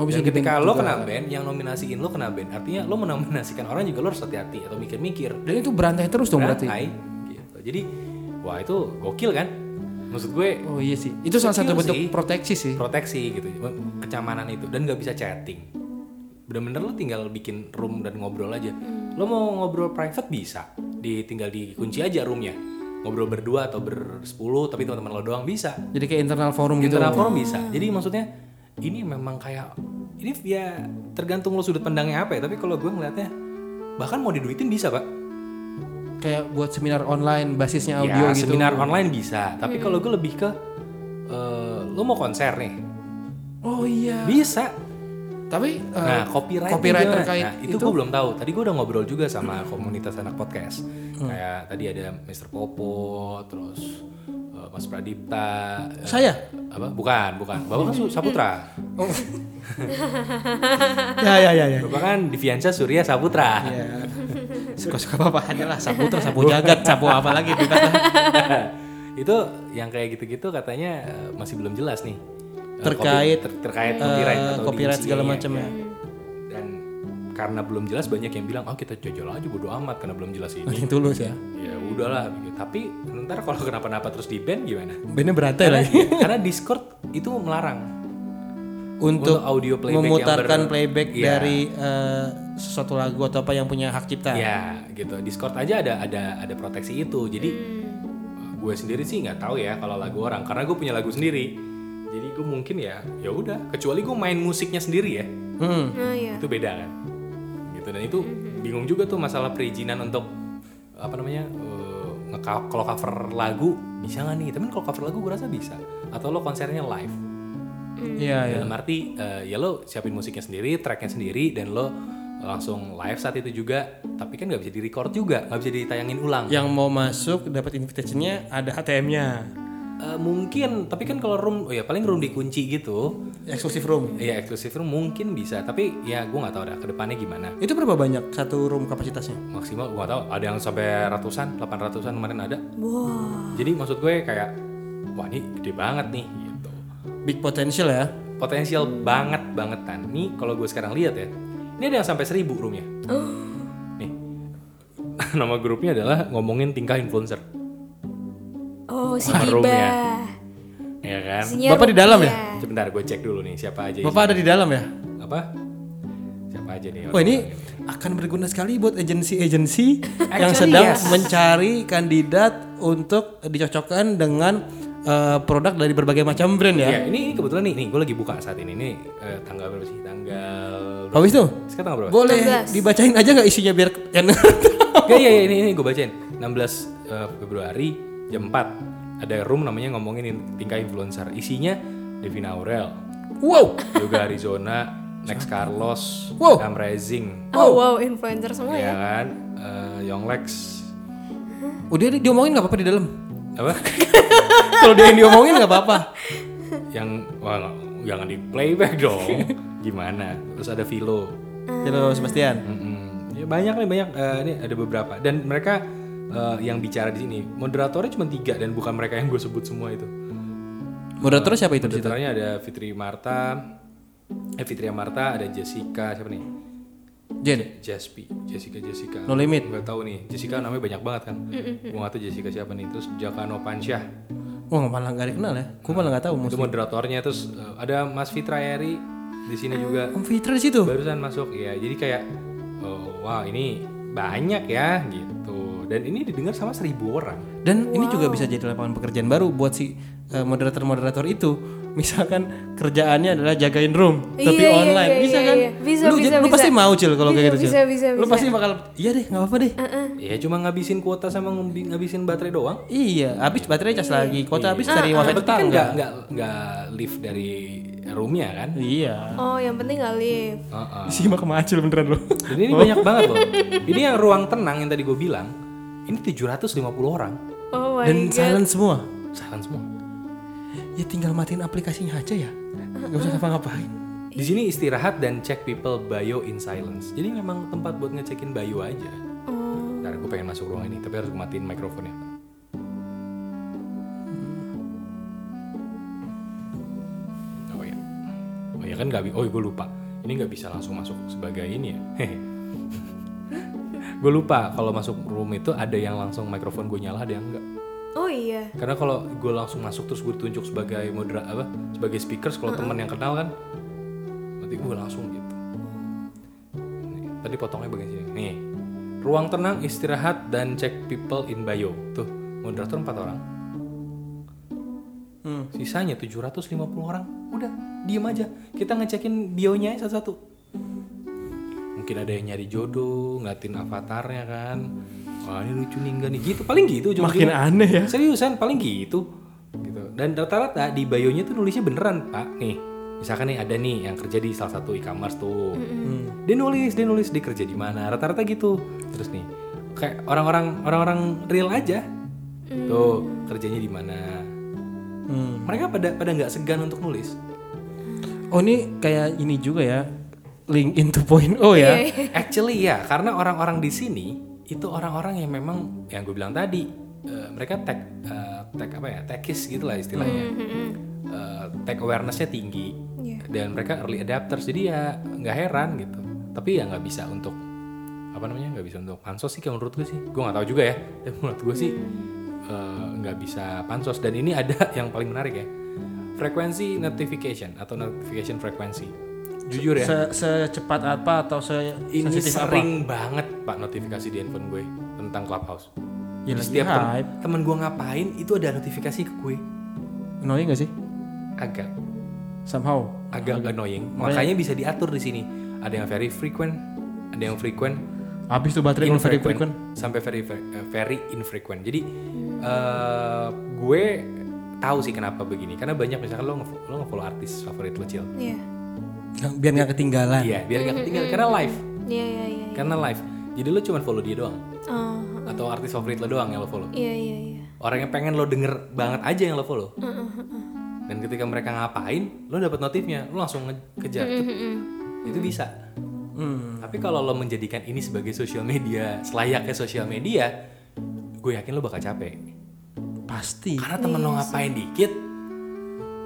S1: Oh bisa
S3: Dan ketika lo kena band, yang nominasiin lo kena band. Artinya lo menominasikan orang juga lo harus hati-hati atau mikir-mikir.
S1: Dan itu berantai terus dong berarti.
S3: Berantai, gitu. Jadi, wah itu gokil kan? Maksud gue
S1: Oh iya sih. Itu salah satu
S3: Kecil
S1: bentuk
S3: sih.
S1: proteksi sih.
S3: proteksi gitu, kecamanan itu dan nggak bisa chatting. Bener-bener lo tinggal bikin room dan ngobrol aja. Lo mau ngobrol private bisa, di tinggal dikunci aja roomnya. ngobrol berdua atau bersepuluh tapi teman-teman lo doang bisa
S1: Jadi kayak internal forum gitu.
S3: internal forum bisa jadi maksudnya ini memang kayak ini ya tergantung lo sudut pandangnya apa ya tapi kalau gue ngelihatnya bahkan mau diduitin bisa pak
S1: Kayak buat seminar online basisnya
S3: ya
S1: audio gitu.
S3: seminar online bisa tapi kalau gue lebih ke eh, lo mau konser nih
S1: Oh iya.
S3: bisa
S1: Tapi eh,
S3: nah copyright
S1: copyright
S3: gimana?
S1: terkait
S3: nah,
S1: itu-
S3: itu,
S1: Hmm.
S3: gue belum tahu tadi gue udah ngobrol juga sama komunitas anak podcast kayak tadi ada Mr. Popo terus eh, Mas Pradipta eh,
S1: saya. Hmm.
S3: apa bukan bukan bapak kan Su- Saputra
S1: ya ya ya ya.
S3: bapak kan Diviansyah Surya Saputra
S1: Ya. Suka-suka apa aja lah sapu terus sapu jagat sapu apa lagi kita.
S3: itu yang kayak gitu-gitu katanya eh, masih belum jelas nih Eh,
S1: Terkait,
S3: copy- ter- terkait
S1: eh,
S3: copyright atau Iya,
S1: copyright
S3: diisinya,
S1: segala macam ya.
S3: dan karena belum jelas banyak yang bilang oh kita jajal aja bodo amat karena belum jelas ini
S1: Makin tulus ya.
S3: ya udahlah gitu. tapi ntar kalau kenapa-napa terus di ban gimana
S1: Bandnya berantai Iya lagi.
S3: karena Discord itu melarang
S1: Untuk
S3: audio playback yang
S1: memutarkan
S3: ber-
S1: playback
S3: Iya.
S1: dari eh, sesuatu lagu atau apa yang punya hak cipta.
S3: ya gitu Discord aja ada ada ada proteksi itu jadi gue sendiri sih nggak tahu ya kalau lagu orang karena gue punya lagu sendiri jadi gue mungkin ya ya udah kecuali gue main musiknya sendiri ya
S1: Hmm.
S2: Oh iya.
S3: itu beda kan gitu dan itu bingung juga tuh masalah perizinan untuk apa namanya eh, nge- kalau cover lagu bisa nggak nih tapi kalau cover lagu gue rasa bisa atau lo konsernya live Hmm.
S1: Iya ya.
S3: dalam arti eh, ya lo siapin musiknya sendiri tracknya sendiri dan lo langsung live saat itu juga tapi kan nggak bisa direcord juga nggak bisa ditayangin ulang
S1: Yang mau masuk dapat invitationnya ada HTM-nya.
S3: Eh, mungkin tapi kan kalau room oh ya paling room dikunci gitu
S1: Exclusive room.
S3: ya eksklusif room mungkin bisa tapi ya gue nggak tahu dah kedepannya gimana
S1: Itu berapa banyak satu room kapasitasnya?
S3: maksimal gue nggak tahu ada yang sampai ratusan 800an kemarin ada
S2: Wah.
S3: Jadi maksud gue kayak wah ini gede banget nih gitu.
S1: Big potential ya.
S3: Potensial banget bangetan. Nih kalau gue sekarang lihat ya. Ini ada yang sampai 1000 roomnya. Nih. Nama grupnya adalah ngomongin tingkah influencer.
S2: Oh, si
S3: Warungnya.
S2: Diba.
S3: Ya kan?
S2: Isinya
S1: Bapak di dalam ya?
S2: rupiah.
S3: Sebentar gue cek dulu nih siapa aja.
S1: Bapak ada di dalam ya?
S3: isinya. apa? Siapa aja nih?
S1: Wah ini
S3: orang-orangnya.
S1: akan berguna sekali buat agensi-agensi yang
S3: Actually,
S1: sedang
S3: yes.
S1: mencari kandidat untuk dicocokkan dengan eh, produk dari berbagai macam brand ya.
S3: Ya, ini kebetulan nih, nih gue lagi buka saat ini. Ini eh, tanggal berapa sih? Tanggal
S1: Habis tuh
S3: Sekarang tanggal berapa?
S1: boleh
S2: 16.
S1: dibacain aja nggak isinya biar yang
S3: Gak, ya, ya, ini, ini gue bacain. 16 eh, Februari jam 4 ada room namanya ngomongin in- tingkah influencer. Isinya Devina Aurel,
S1: wow
S3: Yoga Arizona, Next Carlos,
S1: Wow.
S3: Am Rising,
S2: Oh, wow, influencer semua
S3: ya
S1: Iya.
S2: ya.
S3: kan, Eh, Young Lex,
S1: udah di- diomongin nggak apa-apa di dalam
S3: apa?
S1: kalau dia yang diomongin nggak apa-apa
S3: Eh. yang wah nggak- jangan di playback dong. Gimana? Terus ada Vilo.
S1: Halo Sebastian
S3: Mm-mm. Ya banyak nih banyak. Eh, ini ada beberapa dan mereka eh, yang bicara di sini moderatornya cuma tiga dan bukan mereka yang gue sebut semua itu.
S1: moderator siapa itu
S3: Pencitraannya ada Fitri Marta, eh Fitri Marta, ada Jessica siapa nih?
S1: Jen
S3: Jaspi, Jessica Jessica.
S1: No Limit.
S3: Gak tahu nih, Jessica namanya banyak banget kan. Gue nggak tahu Jessica siapa nih. Terus Jakano Pansyah,
S1: wah nggak malah nggak dikenal ya gue malah nggak tahu
S3: itu
S1: musuh
S3: moderatornya. Terus eh, ada Mas Fitra Yeri di sini juga.
S1: Om Fitra di situ
S3: Barusan masuk ya. Jadi kayak oh, wow ini banyak ya gitu. Dan ini didengar sama seribu orang.
S1: Dan ini juga bisa jadi lapangan pekerjaan baru buat si eh, moderator-moderator itu. Misalkan kerjaannya adalah jagain room,
S2: Iya,
S1: tapi
S2: iya,
S1: online,
S2: iya,
S1: bisa
S2: iya,
S1: kan?
S2: iya. Bisa,
S1: lu,
S2: bisa,
S1: lu pasti
S2: bisa.
S1: mau cil kalau kayak
S2: Bisa,
S1: gitu cil.
S2: bisa, bisa,
S1: lu
S2: bisa. Uh,
S1: pasti bakal, iya deh, nggak apa-apa deh.
S3: Ya cuma ngabisin kuota sama ngebi- ngabisin baterai doang.
S1: Iya, habis baterai cas lagi, kota
S2: Iya.
S1: habis
S2: Ah,
S1: dari
S3: Yang
S1: wifi
S3: penting kan
S1: tetangga.
S3: nggak nggak nggak lift dari roomnya kan.
S1: Iya.
S2: Oh, yang penting nggak live.
S3: Heeh.
S1: Si mah kemana cil beneran lu.
S2: Oh
S3: Dan ini banyak banget loh. Ini yang ruang tenang yang tadi gue bilang, ini 750 orang.
S2: Oh my
S1: Dan
S2: god.
S1: silent semua.
S3: Silent semua.
S1: Ya tinggal matiin aplikasinya aja ya.
S2: Ah,
S1: Gak usah ngapa-ngapain.
S3: Di sini istirahat dan cek people bio in silence. Jadi memang tempat buat ngecekin bio aja. Ntar gue pengen masuk ruang ini, tapi harus gue matiin mikrofonnya. Oh ya, oh ya kan nggak, bi- oh gue lupa. Ini nggak bisa langsung masuk sebagai ini ya. gue lupa kalau masuk room itu ada yang langsung mikrofon gue nyala, ada yang enggak.
S2: Oh iya.
S3: Karena kalau gue langsung masuk terus gue ditunjuk sebagai modera apa sebagai speakers kalau teman yang kenal kan nanti gue langsung gitu. Nih, tadi potongnya bagian sini. Nih. Ruang tenang, istirahat dan cek people in bio. Tuh, moderator empat orang
S1: Hmm.
S3: sisanya 750 orang udah diem aja kita ngecekin bionya aja satu-satu mungkin ada yang nyari jodoh ngatin avatarnya kan wah ini lucu nih enggak nih gitu paling gitu
S1: Makin
S3: ujung-ujungnya.
S1: aneh ya.
S3: seriusan paling gitu gitu dan rata-rata di bionya tuh nulisnya beneran pak nih misalkan nih ada nih yang kerja di salah satu e-commerce tuh dia nulis dia nulis dia kerja di mana rata-rata gitu terus nih kayak orang-orang orang-orang real aja tuh kerjanya di mana
S1: Hmm.
S3: mereka pada pada nggak segan untuk nulis
S1: Oh ini kayak ini juga ya. Link in 2.0 ya.
S2: Iya,
S3: actually ya karena orang-orang di sini itu orang-orang yang memang yang gue bilang tadi eh, mereka tech eh, tech apa ya techis gitulah istilahnya Eh, tech awarenessnya tinggi dan mereka early adapters jadi ya nggak heran gitu tapi ya nggak bisa untuk apa namanya nggak bisa untuk pansos sih kalau menurut gue sih gue nggak tahu juga ya tapi menurut gue sih eh, nggak bisa pansos dan ini ada yang paling menarik ya frekuensi notification atau notification frekuensi jujur ya
S1: Se- secepat apa atau se
S3: ini
S1: sensitif apa?
S3: sering banget pak notifikasi di handphone gue tentang clubhouse.
S1: Ya,
S3: Di
S1: lagi
S3: setiap tem-
S1: hype.
S3: temen gue ngapain itu ada notifikasi ke gue.
S1: Annoying gak sih?
S3: Agak
S1: Somehow.
S3: agak annoying. Makanya bisa diatur di sini. Ada yang very frequent, ada yang frequent,
S1: Habis tuh baterai kalau very frequent.
S3: sampai very fre- eh, very infrequent. Jadi eh, gue tahu sih kenapa begini karena banyak misalkan lo nge- lo nge-follow artis favorit lo
S1: Nah.
S3: Cil.
S2: Iya.
S1: Yang- Biar nggak ketinggalan.
S3: Iya, biar gak ketinggalan karena live.
S2: Iya, iya, iya.
S3: Karena live. Jadi lo cuma follow dia doang
S2: Oh,
S3: atau artis favorit lo doang yang lo follow.
S2: iya, iya, iya.
S3: orang yang pengen lo denger banget aja yang lo follow dan ketika mereka ngapain lo dapat notifnya lo langsung nge- kejar itu bisa tapi kalau lo menjadikan ini sebagai sosial media selayaknya sosial media gue yakin lo bakal capek
S1: Pasti.
S3: karena temen lo ngapain dikit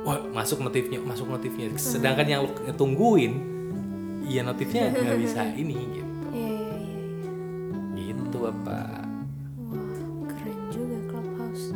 S3: wah masuk notifnya masuk notifnya sedangkan yang lo tungguin iya notifnya nggak bisa ini gitu
S2: Iya, iya, iya. iya.
S3: gitu bapak
S2: Wah, keren juga Clubhouse.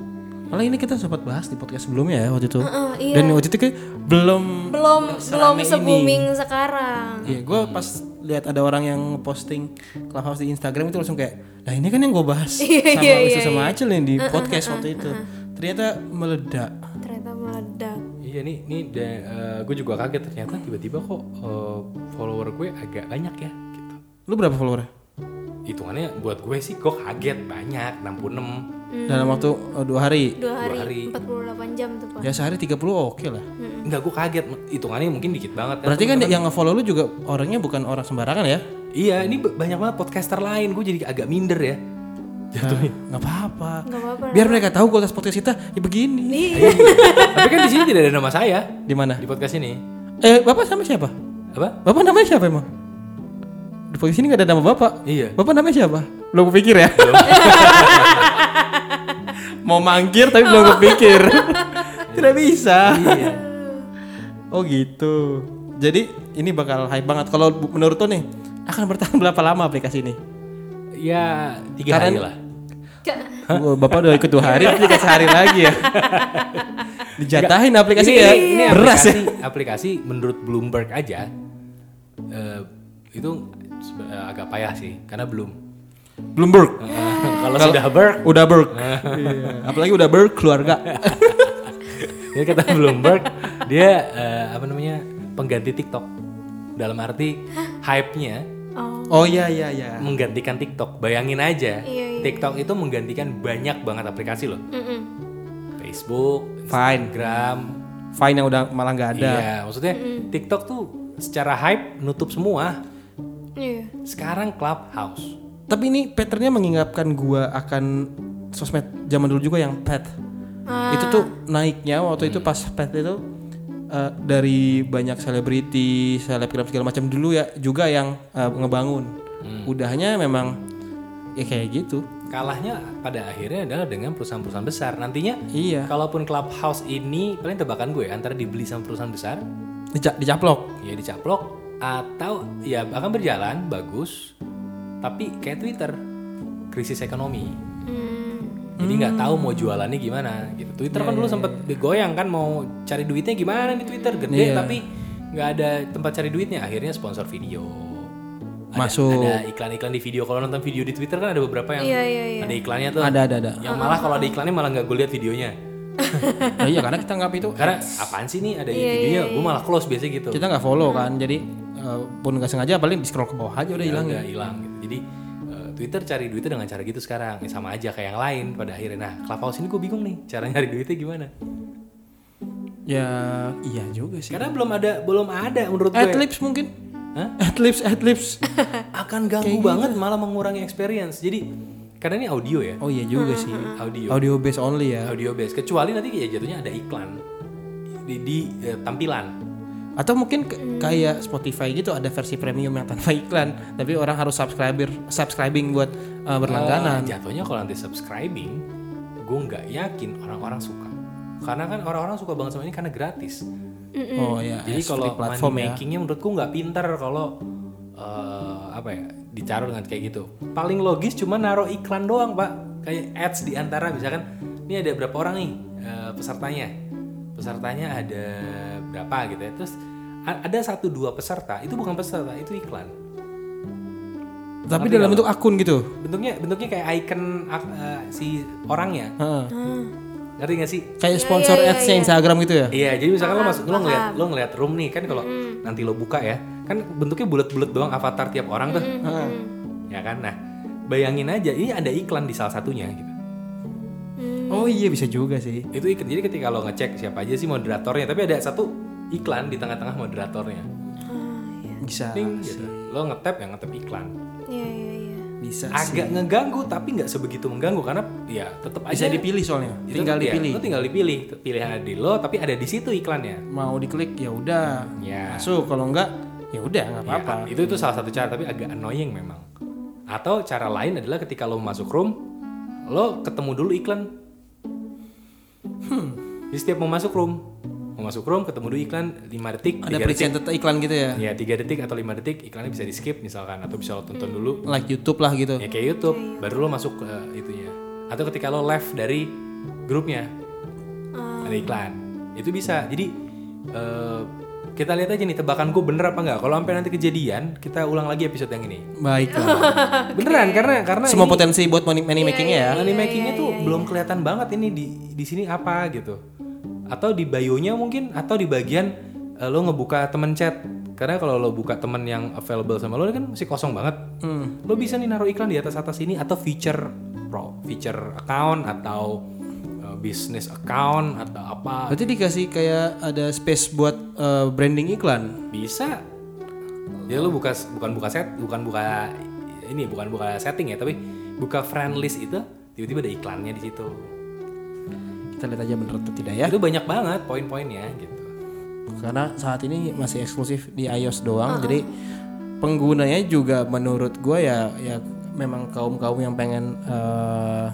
S1: Malah ini kita sempat bahas di podcast sebelumnya ya waktu itu.
S2: Heeh, iya.
S1: Dan waktu itu kayak belum
S2: belum belum
S1: Selama
S2: se
S1: ini.
S2: booming sekarang.
S1: Iya, gue pas lihat ada orang yang posting clubhouse di Instagram itu langsung kayak, nah ini kan yang gue bahas sama
S2: Iya, iya,
S1: Wisnu
S2: iya,
S1: sama Acil yang di podcast waktu itu. Ternyata meledak.
S2: Oh, Ternyata meledak.
S3: Iya nih, nih da- eh, gue juga kaget ternyata tiba-tiba kok eh, follower gue agak banyak ya. Gitu.
S1: Lu berapa follower?
S3: Hitungannya buat gue sih kok kaget banyak 66.
S1: Dalam waktu eh, dua hari.
S2: Dua
S3: hari.
S2: hari, 48 jam tuh pak.
S1: Ya sehari 30 oke lah.
S3: Enggak gue kaget, hitungannya mungkin dikit banget.
S1: Berarti kan yang nge-follow lu juga orangnya bukan orang sembarangan ya?
S3: Iya, ini b- banyak banget podcaster lain, gue jadi agak minder ya. Jatuhnya.
S1: Nah, Nggak apa-apa.
S2: Gak apa-apa.
S1: Biar mereka tahu kualitas podcast kita ya begini.
S2: Iya.
S3: Tapi kan di sini tidak ada nama saya
S1: Di mana?
S3: di podcast ini.
S1: Eh, Bapak sama siapa?
S3: Apa?
S1: Bapak namanya siapa emang? Di podcast ini nggak ada nama Bapak.
S3: Iya.
S1: Bapak namanya siapa? Belum kepikir ya? Mau mangkir tapi belum kepikir. Tidak bisa.
S3: Iya.
S1: Oh gitu. Jadi ini bakal hype banget. Kalau bu- menurut tuh nih akan bertahan berapa lama aplikasi ini?
S3: Ya tiga
S1: Karena-
S3: hari lah.
S1: Wah, Bapak udah ikut dua hari, nanti dikasih hari lagi ya. Dijatahin aplikasi
S3: Ini-
S1: kayak
S3: ini
S1: beras ya.
S3: Iya, aplikasi, aplikasi menurut Bloomberg aja eh, itu sebe- eh, agak payah sih karena belum
S1: Bloomberg.
S3: kalau sudah Berg
S1: Udah berk.
S3: Iya.
S1: Apalagi udah berkeluarga.
S3: dia ya kata Bloomberg dia eh, apa namanya pengganti TikTok dalam arti hype-nya
S2: Oh,
S1: Oh iya iya iya.
S3: menggantikan TikTok bayangin aja
S2: Iya, iya,
S3: TikTok itu menggantikan banyak banget aplikasi loh
S2: mm-mm.
S3: Facebook
S1: Fine.
S3: Instagram
S1: Fine yang udah malah nggak ada.
S3: iya maksudnya TikTok tuh secara hype nutup semua
S2: Iya.
S3: sekarang Clubhouse
S1: Tapi ini patternnya mengingatkan gua akan sosmed zaman dulu juga yang pet. Itu tuh naiknya waktu itu pas pet itu eh, dari banyak selebriti, selebgram segala macam dulu ya juga yang eh, ngebangun. Hmm. Udahnya memang ya kayak gitu.
S3: kalahnya pada akhirnya adalah dengan perusahaan-perusahaan besar nantinya
S1: Iya.
S3: kalaupun Clubhouse ini paling tebakan gue antara dibeli sama perusahaan besar
S1: Dica- dicaplok.
S3: ya dicaplok atau ya akan berjalan bagus tapi kayak Twitter krisis ekonomi
S2: Hmm.
S3: jadi nggak tahu
S1: Hmm.
S3: mau jualannya gimana gitu
S1: Iya,
S3: Twitter kan dulu sempet digoyang kan mau cari duitnya gimana di Twitter
S1: Iya.
S3: gede tapi nggak ada tempat cari duitnya akhirnya sponsor video Ada-
S1: Masuk.
S3: Ada iklan-iklan di video. Kalau nonton video di Twitter kan ada beberapa yang
S2: Iya, iya, iya.
S3: ada iklannya tuh.
S1: Ada, ada, ada.
S3: Yang malah kalau ada iklannya malah nggak gue lihat videonya.
S1: Iya. Nah, iya karena kita nggak itu
S3: Karena apaan sih nih ada videonya? Gue malah close biasanya gitu.
S1: Iya, kita nggak follow kan jadi eh, pun nggak sengaja paling di scroll ke bawah aja udah hilang ya?
S3: hilang nggak hilang gitu. Jadi eh, Twitter cari duitnya dengan cara gitu sekarang Ya, sama aja kayak yang lain pada akhirnya. Nah, Clubhouse ini gue bingung nih cara nyari duitnya gimana.
S1: ya iya juga sih
S3: Karena belum ada belum ada menurut ya. gue.
S1: adlibs mungkin
S3: Hah?
S1: adlibs adlibs
S3: Akan ganggu banget
S1: gitu.
S3: malah mengurangi experience. Jadi karena ini audio ya.
S1: oh iya juga sih
S3: Audio.
S1: audio based only ya
S3: Audio base kecuali nanti ya jatuhnya ada iklan di, di eh, tampilan.
S1: atau mungkin ke-
S3: Hmm.
S1: kayak Spotify gitu ada versi premium yang tanpa iklan tapi orang harus subscriber subscribing buat eh, berlangganan
S3: Eh, jatuhnya kalau nanti subscribing, gue nggak yakin orang-orang suka. Karena kan orang-orang suka banget sama ini karena gratis.
S1: oh ya
S3: Jadi
S1: free
S3: kalau
S1: platform
S3: money
S1: ya
S3: makingnya menurutku nggak pinter kalau eh, apa ya ditaruh dengan kayak gitu. Paling logis cuma naruh iklan doang pak, kayak ads di antara misalkan ini ada berapa orang nih eh, pesertanya, pesertanya ada berapa gitu ya. Terus a- ada satu dua peserta itu bukan peserta itu iklan.
S1: tapi dalam bentuk akun gitu
S3: Bentuknya bentuknya kayak icon ak- eh, si orangnya,
S1: Heeh.
S3: ngerti nggak sih?
S1: kayak sponsor ads-nya Instagram gitu ya
S3: Iya, jadi misalkan lo masuk lo ngeliat lo ngeliat room nih kan kalau nanti lo buka ya, kan bentuknya bulat-bulat doang avatar tiap orang tuh. Ya kan? Nah, bayangin aja ini ada iklan di salah satunya gitu.
S1: oh iya bisa juga sih
S3: Itu iklan. Jadi ketika lo ngecek siapa aja sih moderatornya, tapi ada satu iklan di tengah-tengah moderatornya.
S2: Ah,
S1: bisa
S3: Ding, gitu. Lo ngetap yang ngetap iklan.
S2: Iya, iya, iya.
S1: bisa sih.
S3: Agak ngeganggu tapi nggak sebegitu mengganggu karena ya tetap
S1: bisa
S3: aja
S1: dipilih soalnya
S3: itu-
S1: tinggal
S3: ya,
S1: dipilih
S3: lo tinggal dipilih pilihan ada di lo tapi ada di situ iklannya.
S1: mau diklik ya udah
S3: Ya.
S1: masuk kalau enggak ya udah nggak
S3: Ya,
S1: apa-apa
S3: itu itu salah satu cara tapi agak annoying memang. Atau cara lain adalah ketika lo masuk room, lo ketemu dulu iklan. Hmm, Di setiap mau masuk room, mau masuk room ketemu dulu iklan 5 detik,
S1: ada
S3: 3 detik.
S1: presented iklan gitu ya
S3: Ya, 3 detik atau 5 detik iklannya bisa di skip misalkan atau bisa lo tonton dulu
S1: like YouTube lah gitu
S3: ya kayak YouTube, baru lo masuk ke eh, itunya. Atau ketika lo left dari grupnya ada iklan, itu bisa. Jadi eh, kita lihat aja nih tebakan gue bener apa nggak. Kalau sampai nanti kejadian, kita ulang lagi episode yang ini.
S1: baiklah
S3: Beneran karena karena iya.
S1: semua potensi buat money, money makingnya ya
S3: money makingnya tuh belum kelihatan banget ini di di sini apa gitu. Atau di bio-nya mungkin atau di bagian eh, lo ngebuka temen chat. Karena kalau lo buka temen yang available sama lo kan masih kosong banget. Lo bisa nih naruh iklan di atas atas ini atau feature pro, feature account atau eh, business account atau apa
S1: berarti dikasih kayak ada space buat eh, branding iklan
S3: bisa ya lu buka bukan buka set bukan buka ini bukan buka setting ya tapi buka friend list itu tiba-tiba ada iklannya di situ
S1: kita lihat aja bener atau tidak ya
S3: itu banyak banget poin-poinnya gitu
S1: karena saat ini masih eksklusif di iOS doang jadi penggunanya juga menurut gue ya ya memang kaum kaum yang pengen eh,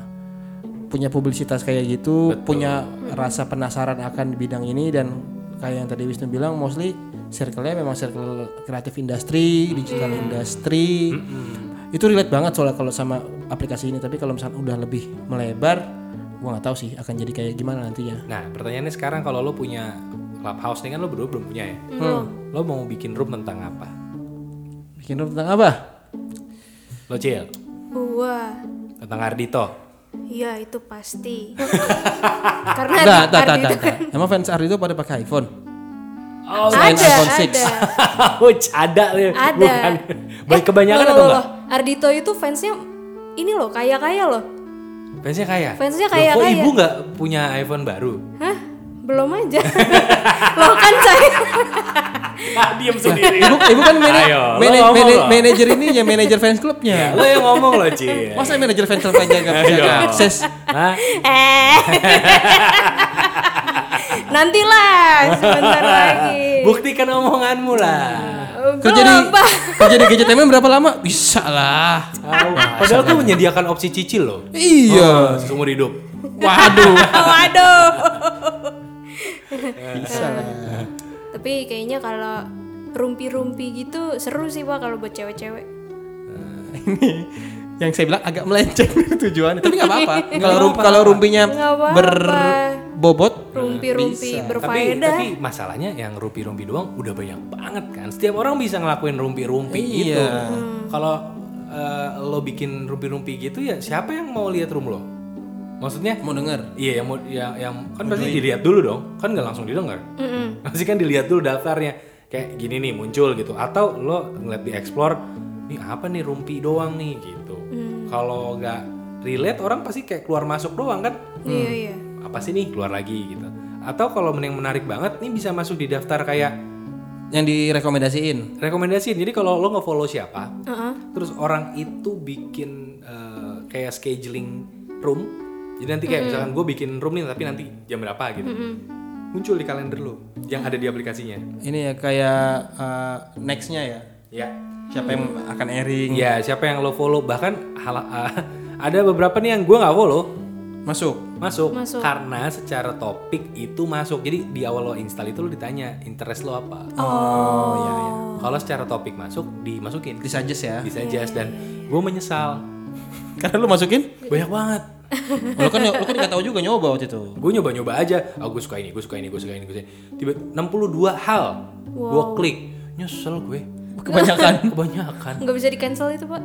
S1: punya publisitas kayak gitu punya rasa penasaran akan bidang ini dan kayak yang tadi Wisnu bilang mostly circle-nya memang circle kreatif industri digital industry itu relate banget soalnya kalau sama aplikasi ini tapi kalau misalnya udah lebih melebar gue nggak tahu sih akan jadi kayak gimana nantinya
S3: nah pertanyaannya sekarang kalau lo punya clubhouse nih kan lo berdua belum punya ya
S2: Hmm. Belum.
S3: lo mau bikin room tentang apa
S1: bikin room tentang apa
S3: lo cil
S2: Gua.
S3: tentang Ardito
S2: Iya, itu pasti. Karena
S1: Enggak,
S2: Ardi
S1: tak, tak,
S2: itu
S1: tak, tak. Emang fans Ardi itu pada pakai iPhone?
S3: oh
S1: Selain
S2: ada,
S1: iPhone
S2: ada.
S1: 6.
S3: ada nih
S2: Ada.
S3: bukan baik
S2: Eh,
S3: kebanyakan
S2: loh,
S3: atau
S2: loh,
S3: enggak
S2: loh. Ardito itu fansnya ini loh, kaya-kaya loh.
S3: fansnya kaya
S2: Fansnya
S3: Loh,
S2: kaya,
S3: kok
S2: kaya.
S3: ibu nggak punya iPhone baru
S2: Hah? Belum aja. loh kan saya.
S3: ah, diam sendiri
S1: Ibu, ibu kan mana-
S3: Ayo, lo
S1: mana-
S3: ngomong
S1: mana-
S3: lo.
S1: manajer ini ya manajer fans
S3: Ya,
S1: klubnya.
S3: lo yang ngomong lo Cil Ah,
S1: Masa manajer fans klub aja nggak kan? punya
S3: Iya. Ayo.
S1: akses?
S3: Hah?
S2: Eh. Nantilah sebentar lagi. Oh,
S3: Buktikan omonganmu lah
S1: Kerja di
S2: Belum, Pak.
S1: kerja di gadget Emang berapa lama? Bisa lah.
S2: Hmm.
S3: Tahu. Ah, Padahal tuh menyediakan opsi cicil loh
S1: Iya.
S3: Oh, Seumur hidup
S1: Waduh.
S2: Waduh.
S1: Bisa lah.
S2: Tapi kayaknya kalau rumpi-rumpi gitu seru sih Pak kalau buat
S1: Eh,
S2: cewek-cewek.
S1: Ini yang saya bilang agak melenceng dari tujuannya. Tapi nggak apa-apa. Kalau rum-
S3: apa-apa.
S1: kalau rumpinya
S2: Nggak apa-apa.
S1: berbobot,
S2: Rumpi-rumpi
S3: tapi,
S2: berfaedah.
S3: tapi masalahnya yang rumpi-rumpi doang udah banyak banget kan Setiap orang bisa ngelakuin rumpi-rumpi
S1: Iya.
S3: gitu kalau eh, lo bikin rumpi-rumpi gitu ya siapa yang mau lihat room lo? Maksudnya
S1: Mau denger?
S3: Iya yang mau ya, yang kan pasti dilihat dulu dong, kan nggak langsung didengar.
S1: Hmm.
S3: Pasti kan dilihat dulu daftarnya. Kayak gini nih muncul gitu atau lo ngeliat di explore nih apa nih rumpi doang nih gitu. Kalau nggak relate orang pasti kayak keluar masuk doang kan.
S2: Iya iya.
S3: Apa sih nih keluar lagi gitu. Atau kalau men- yang menarik banget nih bisa masuk di daftar kayak
S1: Yang direkomendasiin?
S3: rekomendasi. Jadi kalau lo nge-follow siapa, terus orang itu bikin eh, kayak scheduling room. Jadi nanti kayak misalkan gue bikin room nih tapi nanti jam berapa gitu. Muncul di kalender lo yang ada di aplikasinya.
S1: Ini ya kayak eh, nextnya ya.
S3: Ya.
S1: Siapa yang akan airing?
S3: Ya, siapa yang lo follow bahkan hala- ah, ada beberapa nih yang gue nggak follow
S1: Masuk.
S3: masuk.
S2: Masuk.
S3: karena secara topik itu masuk. Jadi di awal lo install itu lo ditanya interest lo apa.
S1: Oh, iya iya.
S3: Kalau secara topik masuk dimasukin.
S1: Di suggest ya.
S3: Bisa just dan gue menyesal
S1: Karena lu masukin?
S3: banyak banget.
S1: Lu kan lu kan nggak tahu juga nyoba waktu itu.
S3: gue nyoba-nyoba aja ah gue suka ini gue suka ini gue suka ini gue suka ini tiba 62 hal gue klik nyesel gue
S1: Kebanyakan.
S3: kebanyakan
S2: Nggak bisa di cancel itu pak?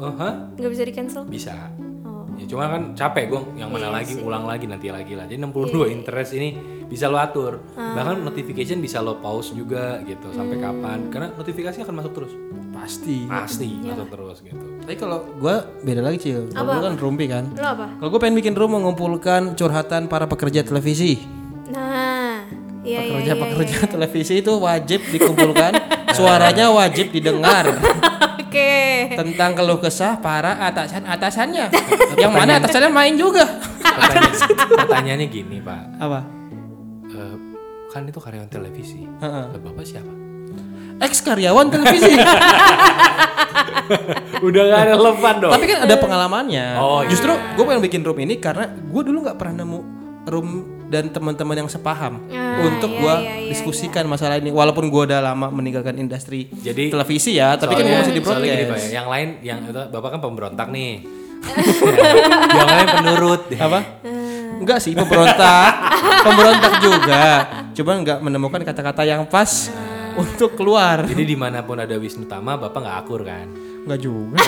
S3: Eh, hah?
S2: Nggak bisa di cancel?
S3: bisa
S2: Oh.
S3: ya cuma kan capek gue yang mana lagi ulang lagi nanti lagi lah jadi 62 interest ini bisa lo atur bahkan notification bisa lo pause juga gitu sampai kapan karena notifikasi akan masuk terus
S1: Iya. Pasti.
S3: pasti masuk terus gitu
S1: Tapi kalau gua beda lagi cil. Kalau lu kan rumpi kan.
S2: Lo apa?
S1: Kalau gue pengen bikin room mengumpulkan curhatan para pekerja televisi.
S2: Nah, iya iya iya.
S1: Pekerja-pekerja televisi itu wajib dikumpulkan, suaranya wajib didengar
S2: Oke.
S1: tentang keluh kesah para atasan-atasannya. Yang mana atasannya main juga.
S3: Pertanyaan- pertanyaannya gini pak
S1: Apa?
S3: Eh, kan itu karyawan televisi
S1: Heeh.
S3: Lah, bapak siapa
S1: Ex karyawan televisi.
S3: udah gak relevan dong
S1: Tapi kan ada pengalamannya.
S3: Oh, iya.
S1: Justru gue pengen bikin room ini karena gue dulu nggak pernah nemu room dan teman-teman yang sepaham
S2: Ah,
S1: untuk
S2: iya,
S1: gue
S2: iya, iya,
S1: diskusikan masalah ini. Walaupun gue udah lama meninggalkan industri
S3: Jadi-
S1: televisi ya, tapi kan
S3: Soalnya-
S1: gue masih di
S3: soalnya gini,
S1: broadcast.
S3: Pak, ya, yang lain yang itu, bapak kan pemberontak nih. yang lain penurut.
S1: apa
S2: Ah.
S1: enggak sih pemberontak pemberontak juga cuman nggak menemukan kata-kata yang pas
S2: Ah.
S1: untuk keluar
S3: Jadi dimanapun ada Wisnu Tama, bapak nggak akur kan?
S1: nggak juga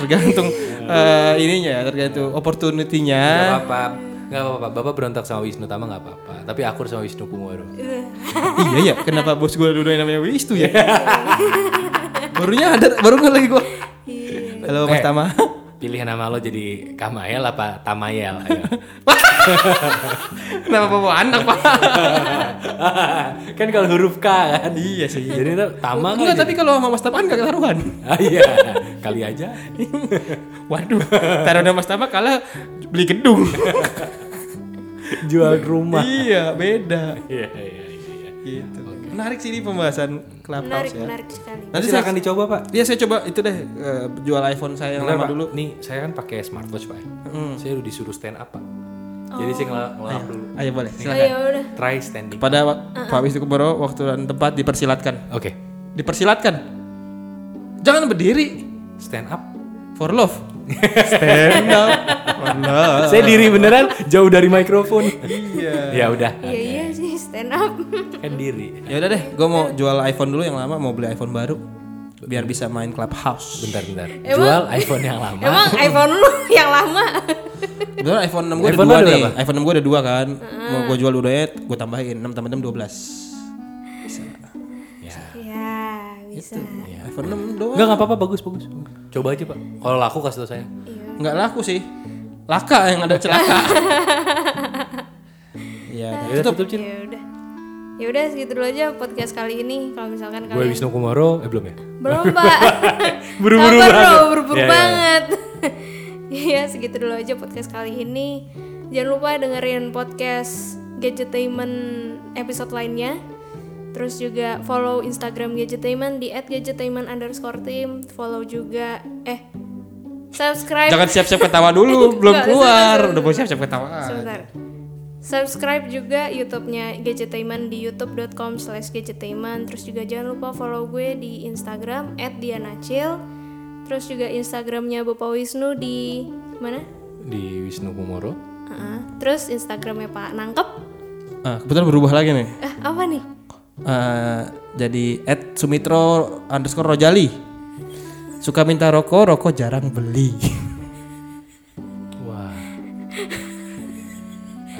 S1: tergantung eh, ininya tergantung
S3: Nggak
S1: opportunity-nya
S3: apa-apa. Nggak apa-apa. Bapak berontak sama Wisnu Tama nggak apa-apa. Tapi akur sama Wisnu Kumoro.
S1: iya ya kenapa bos gue dulu yang namanya Wistu ya barunya ada baru nggak lagi gue halo mas
S3: Eh.
S1: Tama
S3: Pilihan nama lo jadi Kamayel apa Tamayel? Ayo.
S1: kenapa bawa anak pak
S3: kan kalau huruf K kan. Iya sih. Jadi itu Tama kan.
S1: enggak
S3: jadi-
S1: tapi kalau sama mas Tama kan nggak taruhan
S3: Ah, iya. Kali aja.
S1: waduh taruhan sama mas Tama kalah beli gedung
S3: Jual rumah.
S1: iya beda
S3: Iya iya iya. iya.
S1: gitu menarik sih ini pembahasan clubhouse
S2: Menarik
S1: ya
S2: menarik sekali.
S1: nanti saya
S3: Silakan dicoba pak.
S1: ya saya coba itu deh eh, jual iPhone saya yang
S3: Bentar,
S1: lama
S3: Pak.
S1: dulu Hmm.
S3: Nih, saya kan pakai smartwatch, Pak. Saya udah disuruh stand up, Pak. Jadi
S1: Oh.
S3: saya ngelap
S1: Iya.
S3: ngelap dulu.
S1: ayo boleh
S3: Iya.
S2: Oh
S1: silakan
S2: ya udah.
S3: Try standing. Oke.
S1: kepada Wa-
S3: Uh-uh.
S1: Pak Wisnu Kumoro waktu dan tempat dipersilatkan dipersilatkan jangan berdiri
S3: Stand up.
S1: for love stand up for love
S3: Saya diri beneran jauh dari mikrofon.
S1: Eh. iya
S3: ya udah.
S2: Iya iya sih stand up.
S3: Kan diri.
S1: ya udah deh gue mau jual iPhone dulu yang lama mau beli iPhone baru biar bisa main clubhouse
S3: Bentar, bentar. Jual iPhone yang lama.
S2: Emang iPhone lu yang lama.
S1: Betul iPhone 6 gue ada
S3: iPhone
S1: dua
S3: lu ada
S1: nih.
S3: berapa?
S1: iPhone 6 gue ada dua kan. Mau gue jual udah gue tambahin 6 tambah 6 12.
S3: Ya.
S2: ya bisa.
S1: Ya. iPhone 6 doang.
S3: Enggak enggak apa-apa, bagus, bagus. Coba aja, Pak. Kalau laku kasih tau saya.
S1: Enggak laku sih. Laka yang ada celaka. Iya,
S3: Ya, tutup, Cil.
S2: Ya udah. Ya udah segitu dulu aja podcast kali ini. Kalau misalkan
S3: Gue
S2: kalian
S3: Wisnu Kumoro, eh belum ya?
S2: belum pak,
S3: Buru-buru
S2: Sabar,
S3: banget.
S2: bro, buru-buru
S3: Ya, ya, ya.
S2: banget. Iya segitu dulu aja podcast kali ini. Jangan lupa dengerin podcast Gadgetainment episode lainnya. Terus juga follow Instagram Gadgetainment di @gadgetainment underscore team. Follow juga eh subscribe.
S1: Jangan siap-siap ketawa dulu, belum
S2: Enggak,
S1: keluar.
S2: sebentar,
S1: Udah mau siap-siap ketawa.
S2: Sebentar. Subscribe juga YouTube-nya Gadgetainment di youtube.com slash gadgetainment Terus juga jangan lupa follow gue di Instagram at dianacil Terus juga Instagramnya Bapak Wisnu di mana?
S3: Di Wisnu Kumoro.
S2: Ah, Terus Instagramnya Pak Nangkep
S1: Ah, kebetulan berubah lagi nih.
S2: Eh apa nih?
S1: eh, jadi at Sumitro underscore Rojali suka minta rokok rokok jarang beli
S3: Wah.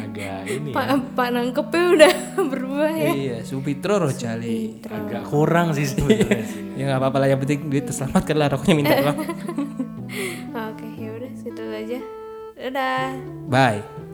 S3: Agak ini ya,
S2: Pak Pak nangkepnya udah berubah ya.
S1: iya Sumitro Rojali
S3: agak kurang sih sebenarnya sih.
S1: ya nggak apa-apa lah yang penting duit terselamatkan lah rokoknya minta doang
S2: Oke, ya udah segitu aja. Dadah.
S1: bye